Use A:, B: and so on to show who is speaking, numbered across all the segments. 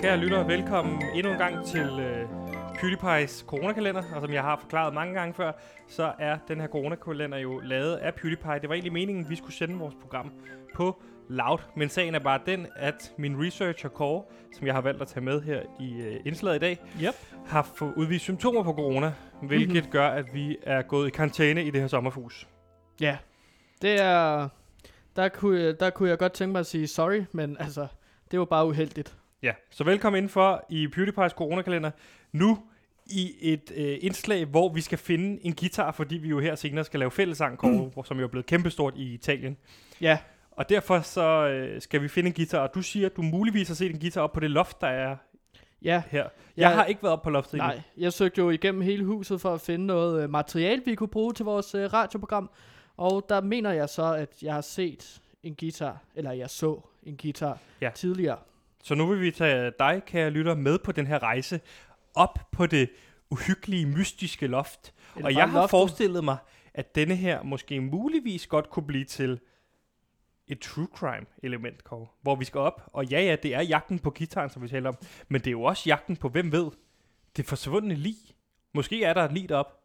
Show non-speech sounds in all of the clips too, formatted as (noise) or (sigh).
A: Kære lytter, velkommen endnu en gang til øh, PewDiePie's coronakalender. Og som jeg har forklaret mange gange før, så er den her coronakalender jo lavet af PewDiePie. Det var egentlig meningen, at vi skulle sende vores program på Loud. Men sagen er bare den, at min researcher Kåre, som jeg har valgt at tage med her i øh, indslaget i dag,
B: Yep.
A: har fået udvist symptomer på corona, hvilket mm-hmm. gør, at vi er gået i karantæne i det her sommerhus.
B: Ja. Det er... Der kunne, der kunne jeg godt tænke mig at sige sorry, men altså, det var bare uheldigt.
A: Ja, så velkommen indenfor i PewDiePie's coronakalender. Nu i et øh, indslag, hvor vi skal finde en guitar, fordi vi jo her senere skal lave
B: (clears throat)
A: fællesang, mm. som jo er blevet kæmpestort i Italien.
B: Ja,
A: Og derfor så øh, skal vi finde en guitar, og du siger, at du muligvis har set en guitar op på det loft, der er
B: ja.
A: her. Jeg,
B: Jeg-
A: har ikke været op på loftet endnu.
B: Nej, jeg søgte jo igennem hele huset for at finde noget øh, materiale, vi kunne bruge til vores øh, radioprogram. Og der mener jeg så, at jeg har set en guitar, eller jeg så en guitar
A: Ja.
B: ja. tidligere.
A: Så nu vil vi tage dig, kære lytter, med på den her rejse op på det uhyggelige, mystiske loft.
B: Eller
A: Og
B: bare
A: jeg har
B: loftet.
A: forestillet mig, at denne her måske muligvis godt kunne blive til et true crime element, Kåre, hvor vi skal op. Og ja, ja, det er jagten på gitaren, som vi taler om, men det er jo også jagten på, hvem ved, det forsvundne lig. Måske er der et lig op.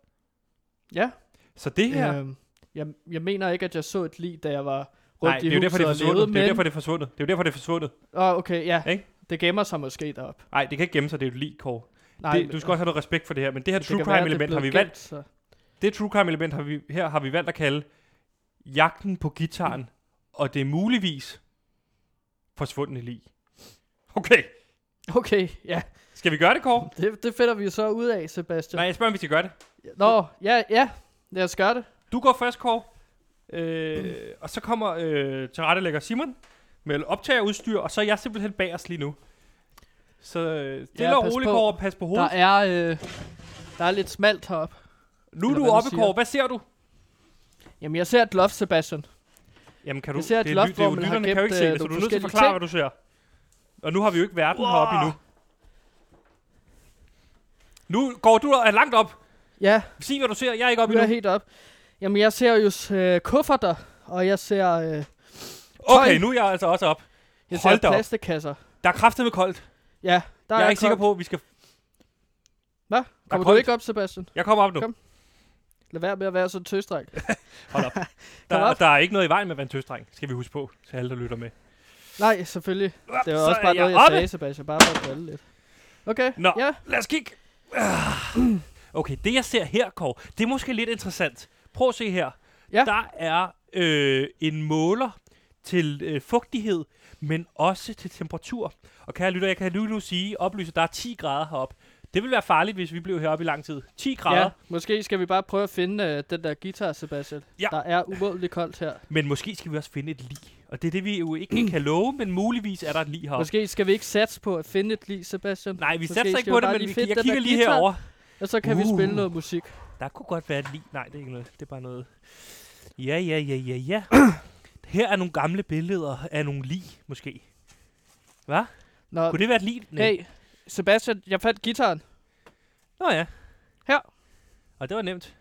B: Ja,
A: Så det her,
B: øhm, jeg, jeg mener ikke, at jeg så et lig, da jeg var rundt
A: nej,
B: i
A: det er jo derfor,
B: huset
A: det er
B: og
A: forsvundet.
B: levede,
A: Det er jo
B: men-
A: derfor, det er forsvundet. Det er jo derfor, det er forsvundet.
B: Åh, okay, ja.
A: Ikke?
B: Det gemmer sig måske derop.
A: Nej, det kan ikke gemme sig, det er jo et lig, Kåre.
B: Nej, altså-
A: det, du skal også have noget respekt for det her, men det her
B: det kan
A: true
B: være,
A: crime
B: det er
A: element har vi
B: blevet
A: valgt
B: gemt, så-
A: det true crime element har vi, her har vi valgt at kalde jagten på gitaren, mm. og det er muligvis forsvundne lig. Okay,
B: Okay, ja.
A: skal vi gøre det, Kåre?
B: Det, det finder vi jo så ud af, Sebastian.
A: Nej, jeg spørger, om vi skal gøre det.
B: Nå, ja, ja. Lad os gøre det.
A: Du går først, Kåre, øh, og så kommer øh, tilrettelægger Simon med optagerudstyr, og så er jeg simpelthen bagerst lige nu. Så øh, stille
B: Ja,
A: og
B: pas
A: roligt,
B: på.
A: Kåre, og pas på
B: Der
A: hovedet. Er,
B: er, øh, der er lidt smalt heroppe.
A: nu er
B: eller
A: du
B: hvad man
A: oppe,
B: siger.
A: Kåre. Hvad ser du?
B: Jamen, jeg ser et loft, Sebastian.
A: Jamen, kan du,
B: Jeg ser et
A: det, er,
B: loft,
A: ly- det er jo
B: hvor man har
A: lytterne kan jo ikke
B: gemt,
A: se
B: øh,
A: det, så du
B: nogle
A: er nødt til at
B: forskellige
A: forklare,
B: ting.
A: hvad du ser. Og nu har vi jo ikke verden wow. heroppe endnu. Nu går du er langt op.
B: Ja,
A: Sig, hvad du ser. Jeg er ikke
B: vi
A: oppe
B: er
A: endnu.
B: helt op. Jamen, jeg ser jo øh, kufferter, og jeg ser, øh,
A: Okay,
B: Tøj.
A: nu er jeg altså også op.
B: jeg
A: Hold da
B: ser
A: op.
B: plastikkasser.
A: Der er kraftedeme koldt.
B: Ja, der
A: Jeg er ikke sikker
B: kommet-
A: på, at vi skal...
B: Hvad? Kommer du
A: koldt.
B: ikke op, Sebastian?
A: Jeg kommer op nu.
B: Kom. Lad være med at være så tøstræk.
A: (laughs) Hold op.
B: Kom
A: Der,
B: op.
A: der er ikke noget i vejen med vandtøstdreng, skal vi huske på, til alle, der lytter med.
B: Nej, selvfølgelig. Det var
A: Så
B: også
A: er
B: bare
A: jeg
B: noget, jeg
A: oppe.
B: sagde, Sebastian. Bare for at drille lidt. Okay,
A: Nå.
B: ja.
A: Lad os kigge. Ah. Okay, det jeg ser her, Kåre, det er måske lidt interessant. Prøv at se her.
B: Ja.
A: Der er øh, en måler til øh, fugtighed, men også til temperatur. Og kære lytter, jeg kan nu, nu sige, oplyse, at der er 10 grader heroppe. Det ville være farligt, hvis vi blev heroppe i lang tid. 10 grader,
B: Ja, måske skal vi bare prøve at finde øh, den der guitar, Sebastian.
A: Ja.
B: Der er umådeligt koldt her.
A: men måske skal vi også finde et lig. Og det er det, vi jo
B: (clears throat)
A: ikke kan love, men muligvis er der et lig heroppe. Måske.
B: Måske skal vi ikke satse på at finde et lig, Sebastian.
A: Nej, vi
B: Måske
A: satser
B: skal
A: ikke
B: vi
A: på det,
B: bare
A: men
B: lige
A: vi,
B: finde
A: jeg
B: den
A: kigger
B: der
A: lige
B: guitar.
A: herover.
B: Og så kan uh. vi
A: Uh.
B: spille noget musik.
A: Der kunne godt være et lig. Nej, det er ikke noget. Det er bare noget. Ja, ja, ja, ja, (clears throat) ja. Her er nogle gamle billeder af nogle lig, måske. Hvad?
B: Nå,
A: Kunne det være et lig? Nej.
B: hey, Sebastian, jeg fandt gitaren.
A: Nå ja.
B: Her.
A: Og det var nemt.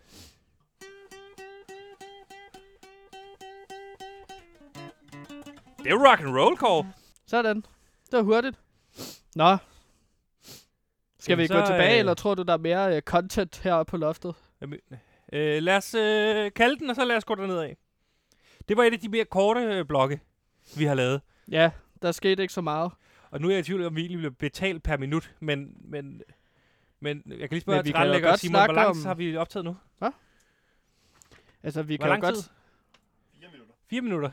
A: Det er jo rock and roll, Kåre.
B: Sådan. Det var hurtigt. Nå. Skal
A: Jamen,
B: vi
A: så,
B: gå tilbage,
A: øh,
B: eller tror du, der er mere øh, content heroppe på loftet?
A: Jamen, Øh, lad os øh, kalde den, og så lad os gå derned af. Det var et af de mere korte øh, blokke, vi har lavet.
B: Ja, der skete ikke så meget.
A: Og nu er jeg i tvivl om, vi egentlig bliver betalt per minut, men, men, men jeg kan lige spørge
B: Men vi
A: til
B: kan jo
A: retlægger
B: godt
A: Simon, hvor
B: snakke
A: langt
B: om-
A: har vi optaget nu?
B: Altså, vi
A: Hvor
B: kan
A: lang
B: jo godt...
A: tid? 4 minutter.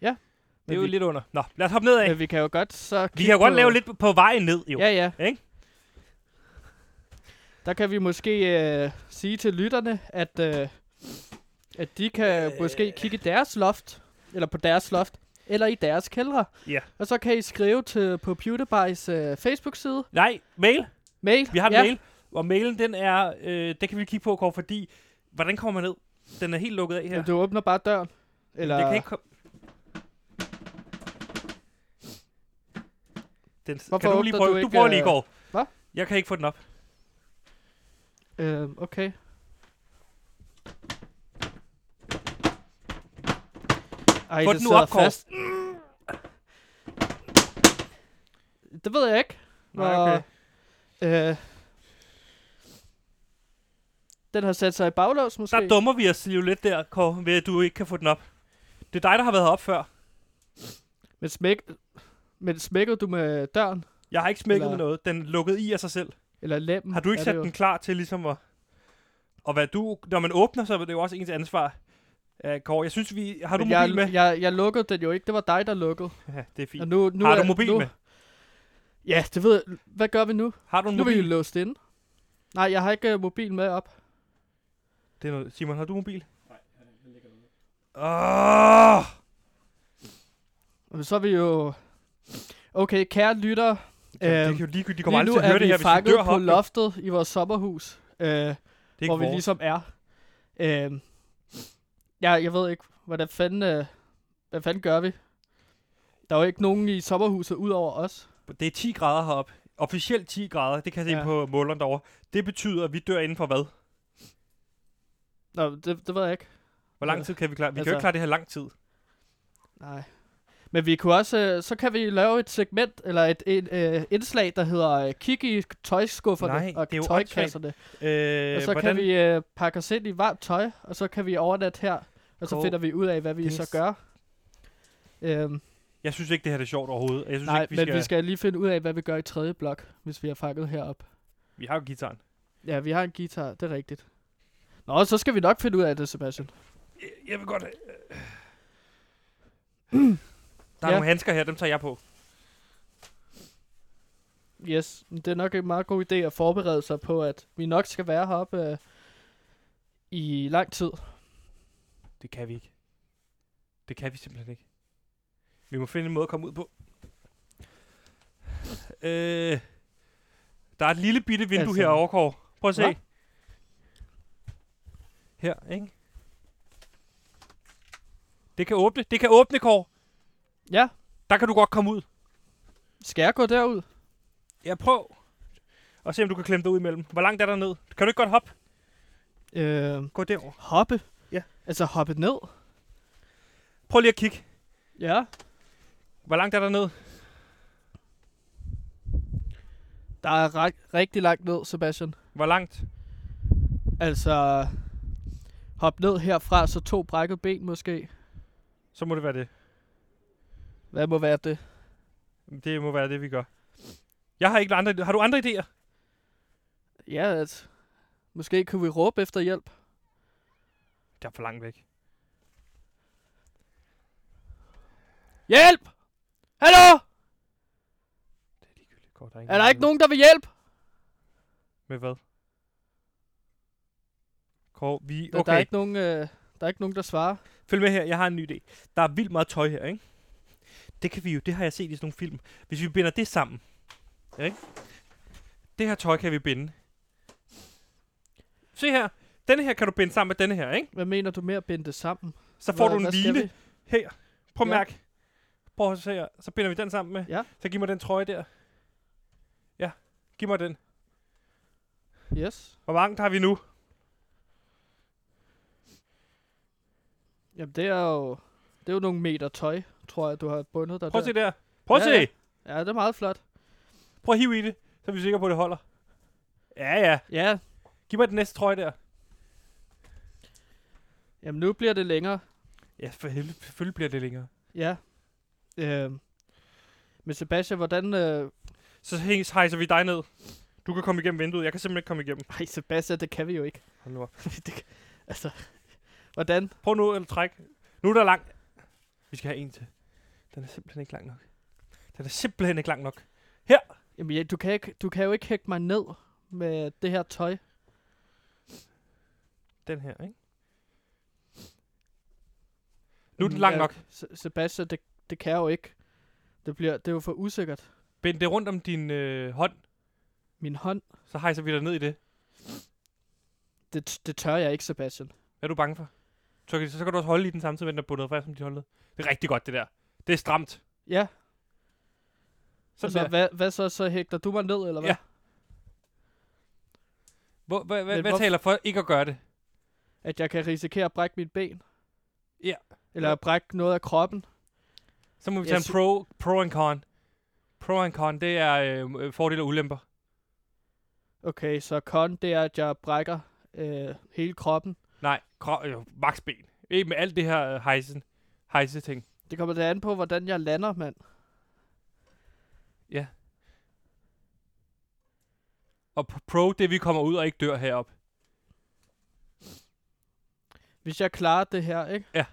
B: Ja,
A: Det
B: men
A: er jo
B: vi-
A: lidt under. Nå, lad os hoppe nedad.
B: Men vi kan jo godt så...
A: Vi
B: kigge
A: kan jo godt
B: på-
A: lave lidt på vejen ned, jo.
B: Ja, ja.
A: Ikke?
B: Der kan vi måske øh, sige til lytterne, at, øh, at de kan øh. måske kigge i deres loft, eller på deres loft, eller i deres kældre.
A: Ja.
B: Og så kan I skrive til, på PewDiePie's øh, Facebook-side.
A: Nej, mail.
B: Mail.
A: Vi har en
B: ja.
A: mail. Og mailen, den er... Øh, det kan vi kigge på, Kåre, fordi... Hvordan kommer man ned? Den er helt lukket af her.
B: Jamen, Du åbner bare døren. Eller,
A: Det kan ikke komme... Den,
B: Hvorfor
A: kan du lige
B: åbner
A: prøve?
B: du
A: Du,
B: ikke,
A: prøver lige,
B: øh,
A: Kåre.
B: hvad?
A: Jeg kan ikke få den op.
B: Øh, okay. Ej,
A: Få
B: det
A: den nu
B: sidder
A: op, Kåre.
B: fast. Det ved jeg ikke.
A: Nej, okay.
B: Og, øh, den har sat sig i baglås måske.
A: Der dummer vi os jo lidt der, Kåre, ved at du ikke kan få den op. Det er dig, der har været op før.
B: Men, smæk, men smækkede du med døren?
A: Jeg har ikke smækket med
B: Eller-
A: noget. Den lukkede i af sig selv.
B: Eller lemmen?
A: Har du ikke
B: er
A: sat
B: det jo.
A: den klar til ligesom at... Og hvad du... Når man åbner, så er det jo også ens ansvar. Uh, Kåre, jeg synes, vi... Har du
B: Men
A: mobil
B: jeg,
A: med?
B: Jeg, jeg lukkede den jo ikke. Det var dig, der lukkede.
A: Ja, det er fint.
B: Og nu, nu
A: har
B: er-
A: du mobil
B: nu,
A: med?
B: Ja, det ved jeg. Hvad gør vi nu?
A: Har du en
B: Nu er vi jo
A: mobil?
B: låst inde. Nej, jeg har ikke uh, mobil med op.
A: Det er noget. Simon, har du mobil? Nej, jeg ligger oh!
B: Men Så er vi jo... Okay, kære lytter.
A: Jamen, det er jo ligegyldigt. De kommer
B: Øhm, lige
A: aldrig
B: nu
A: til at høre
B: er
A: det her,
B: vi
A: hvis vi
B: fanget
A: dør
B: på
A: heroppe. jo.
B: loftet i vores sommerhus, øh,
A: Det er
B: hvor
A: ikke
B: vi
A: vores.
B: ligesom er. Øh, jeg, jeg ved ikke, hvordan fanden, øh, hvad fanden gør vi? Der er jo ikke nogen i sommerhuset ud over os.
A: Det er 10 grader heroppe. Officielt 10 grader. Det kan jeg se
B: Ja.
A: på måleren derovre. Det betyder, at vi dør inden for hvad?
B: Nå, det, det ved jeg ikke.
A: Hvor lang
B: Altså,
A: tid kan vi klare? Vi kan
B: altså-
A: jo ikke klare det her lang tid.
B: Nej. Men vi kunne også, øh, så kan vi lave et segment, eller et, et, øh, indslag, der hedder øh, Kig i tøjskufferne
A: Nej,
B: og
A: det er jo
B: tøjkasserne.
A: Øh,
B: og så
A: hvordan,
B: kan vi øh, pakke os ind i varmt tøj, og så kan vi overnatte her, og så
A: Kåre,
B: finder vi ud af, hvad vi
A: det er
B: så
A: s-
B: gør. Øhm,
A: Jeg synes ikke, det her er sjovt overhovedet. Jeg synes
B: nej,
A: ikke, vi
B: men
A: skal...
B: vi skal lige finde ud af, hvad vi gør i tredje blok, hvis vi har fanget herop.
A: Vi har jo gitaren.
B: Ja, vi har en guitar, det er rigtigt. Nå, så skal vi nok finde ud af det, Sebastian.
A: Jeg vil godt... (clears throat) øh. Der er
B: Ja.
A: nogle handsker her, dem tager jeg på.
B: Yes, men det er nok en meget god idé at forberede sig på, at vi nok skal være heroppe øh, i lang tid.
A: Det kan vi ikke. Det kan vi simpelthen ikke. Vi må finde en måde at komme ud på. Øh, der er et lille bitte vindue
B: Altså-
A: altså. herovre, Kåre. Prøv at se.
B: Hva?
A: Her, ikke? Det kan åbne. Det kan åbne, Kåre.
B: Ja,
A: Der kan du godt komme ud.
B: skal jeg gå derud?
A: Ja, prøv. Og se, om du kan klemme dig ud imellem. Hvor langt er der ned? Kan du ikke godt hoppe?
B: Øh,
A: Gå derover.
B: hoppe?
A: Ja.
B: Altså hoppe ned?
A: Prøv lige at kigge.
B: Ja.
A: Hvor langt er der ned?
B: Der er ri- rigtig langt ned, Sebastian.
A: Hvor langt?
B: Altså, hop ned herfra, så to brækket ben måske.
A: Så må det være det.
B: Hvad må være det?
A: Det må være det, vi gør. Jeg har ikke andre Har du andre idéer?
B: Ja, altså, måske kunne vi råbe efter hjælp.
A: Der er for langt væk.
B: Hjælp! Hallo?
A: Det er ligegyldigt. Kåre, Der
B: Er der ikke nogen, der vil hjælpe?
A: Med hvad? Kåre, vi...
B: Der,
A: Okay,
B: der, er ikke nogen, øh, der er ikke nogen, der svarer.
A: følg med her. Jeg har en ny idé. Der er vildt meget tøj her, ikke? Det kan vi jo... Det har jeg set i sådan nogle film. Hvis vi binder det sammen, ikke? Det her tøj kan vi binde. Se her. Denne her kan du binde sammen med denne her, ikke?
B: Hvad mener du med at binde det sammen?
A: Så får
B: Hvad-
A: du en
B: hvad skal
A: line
B: vi?
A: her. Prøv at
B: Ja.
A: mærke. Prøv at se her. Så binder vi den sammen med.
B: Ja.
A: Så giv mig den trøje der. Ja, giv mig den.
B: Yes.
A: Hvor mange har vi nu?
B: Jamen, det er jo... Det er jo nogle meter tøj, tror jeg, du har bundet dig
A: Prøv at
B: der.
A: se der. Prøv at
B: Ja, ja.
A: se.
B: Ja, det er meget flot.
A: Prøv at hive i det, så er vi sikre på, at det holder. Ja, ja.
B: Ja,
A: Giv mig den næste trøje der.
B: jamen nu bliver det længere.
A: Ja, for helvede. Selvfølgelig bliver det længere.
B: Ja. Øh. Men Sebastian, hvordan... Øh...
A: Så hæng- hejser vi dig ned. Du kan komme igennem vinduet. Jeg kan simpelthen ikke komme igennem.
B: Ej, Sebastian, det kan vi jo ikke. (laughs)
A: Hold nu op.
B: det, kan- altså, hvordan?
A: Prøv nu at trække. Nu er der langt. Vi skal have en til. Den er simpelthen ikke lang nok. Den er simpelthen ikke lang nok.
B: Jamen, ja, du, kan ikke, du kan jo ikke hække mig ned med det her tøj.
A: Den her, ikke? Nu er den lang
B: Ja,
A: nok.
B: Se- Sebastian, det, det kan jeg jo ikke. Det, bliver, det er jo for usikkert.
A: Bind det rundt om din øh, hånd,
B: Min hånd,
A: så hejser vi dig ned i det.
B: det, det tør jeg ikke, Sebastian.
A: Hvad er du bange for? Så kan, så kan du også holde i den samtidig med, at den er bundet fast om dit håndled. Det er rigtig godt, det der. Det er stramt.
B: Ja,
A: Sådan
B: Sådan så
A: der.
B: hvad, hvad så? Så hægter du mig ned, eller hvad?
A: Ja. Hvor, hvad hvad,
B: Men
A: hvad
B: hvorfor-
A: taler for ikke at gøre det?
B: At jeg kan risikere at brække mit ben?
A: Ja.
B: Eller
A: Ja.
B: at brække noget af kroppen?
A: Så må vi
B: Jeg
A: tage en
B: sy-
A: pro, pro and con. Pro and con, det er øh, øh, fordele og ulemper.
B: Okay, så con, det er, at jeg brækker øh, hele kroppen.
A: Nej, kro- øh, max ben. Ikke med alt det her øh, hejsen, hejse-ting.
B: Det kommer da an på, hvordan jeg lander, mand.
A: Og p- pro, det er, vi kommer ud og ikke dør herop.
B: Hvis jeg klarer det her, ikke?
A: Ja.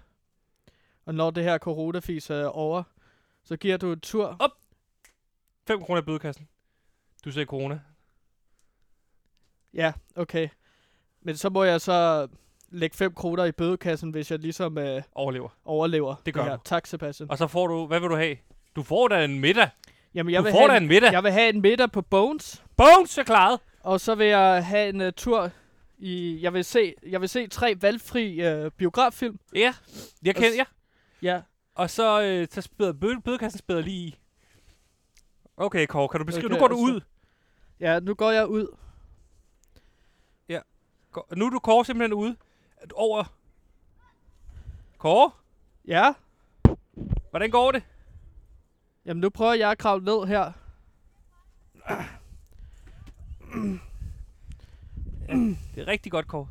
B: Og når det her coronafis er over, så giver du en tur.
A: 5 kroner i bødekassen. Du sagde corona.
B: Ja, okay. Men så må jeg så lægge 5 kroner i bødekassen, hvis jeg ligesom øh,
A: Overlever.
B: overlever det,
A: gør
B: her.
A: du.
B: Tak, Sebastian.
A: Og så får du, hvad vil du have? Du får da en middag.
B: Jamen,
A: Jeg
B: jeg
A: du
B: vil,
A: får da
B: have en,
A: en middag. Jeg...
B: jeg vil have en middag på Bones,
A: Bones er klaret.
B: og så vil jeg have en uh, tur i... Jeg vil, se, jeg vil se tre valgfri uh, biograffilm.
A: Ja, jeg
B: Og
A: kender,
B: s-
A: ja.
B: Ja,
A: Og så, øh, så spæder bøde, bødekassen spæder lige i. Okay, Kåre, kan du beskrive? Okay,
B: Okay,
A: nu går du
B: altså.
A: ud.
B: ja nu går jeg ud.
A: Gå- Nu er du Kåre simpelthen ude. Er du Over. Kåre,
B: Ja,
A: hvordan går det?
B: jamen nu prøver jeg at kravle ned her.
A: Det er rigtig godt, Kåre.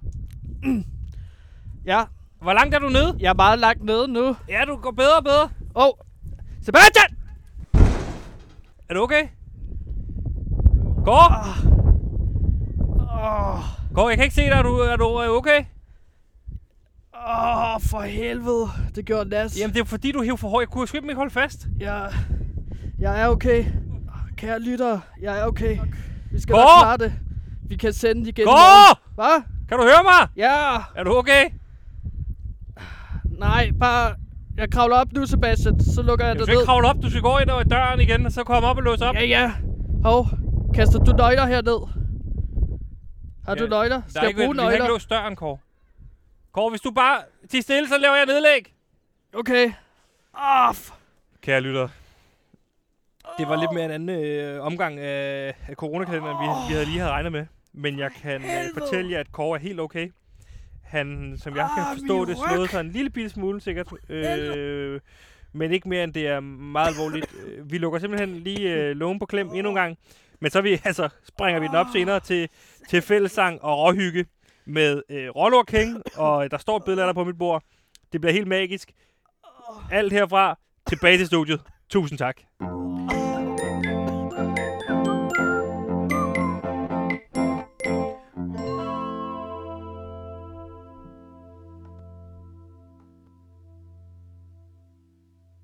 B: Ja,
A: Hvor langt er du nede?
B: jeg er meget langt nede nu.
A: Ja, du går bedre og bedre.
B: Åh, oh. Sebastian!
A: Er du okay? Kåre?
B: Åh,
A: Kåre, jeg kan ikke se dig. Er du, er du er du okay?
B: oh, for helvede. Det gjorde Nas.
A: Jamen, det er fordi, du hæver for højt. Jeg kunne sgu ikke holde fast.
B: Jeg, jeg er okay. Kære lytter, jeg er okay. Vi skal
A: Gå!
B: nok klare det. Vi kan sende igen. i
A: Gå!
B: morgen. Hvad?
A: Kan du høre mig?
B: Ja,
A: Er du okay?
B: nej, bare... Jeg kravler op nu, Sebastian, så lukker jeg
A: Du
B: dig
A: skal ikke
B: ned.
A: kravle op. Du skal gå ind over døren igen, og så komme op og låse op.
B: Ja, ja. Hov, kaster du nøgler herned? Har du
A: Ja,
B: nøgler?
A: Der
B: Skal
A: er
B: jeg
A: ikke, vi
B: bruge
A: har ikke
B: nøgler?
A: låst døren, Kåre. Kåre, hvis du bare til stille, så laver jeg nedlæg.
B: Okay. Ah, f-
A: Kære lytter. Det var lidt mere en anden øh, omgang af, af coronakalenderen, vi, vi havde lige havde regnet med. Men jeg kan øh,
B: helvede.
A: fortælle jer, at Kåre er helt okay. Han, som jeg kan
B: Ah,
A: forstå
B: min
A: det,
B: ryg.
A: slåede sig en lille bitte smule sikkert. Øh, men ikke mere, end det er meget alvorligt. Øh, vi lukker simpelthen lige øh, lågen på klem endnu en gang. Men så er vi, (laughs) altså, springer vi den op senere til, til fællesang og råhygge med øh, Rollor King. Og der står et billede af dig på mit bord. Det bliver helt magisk. Alt herfra tilbage til studiet. Tusind tak.
B: ah.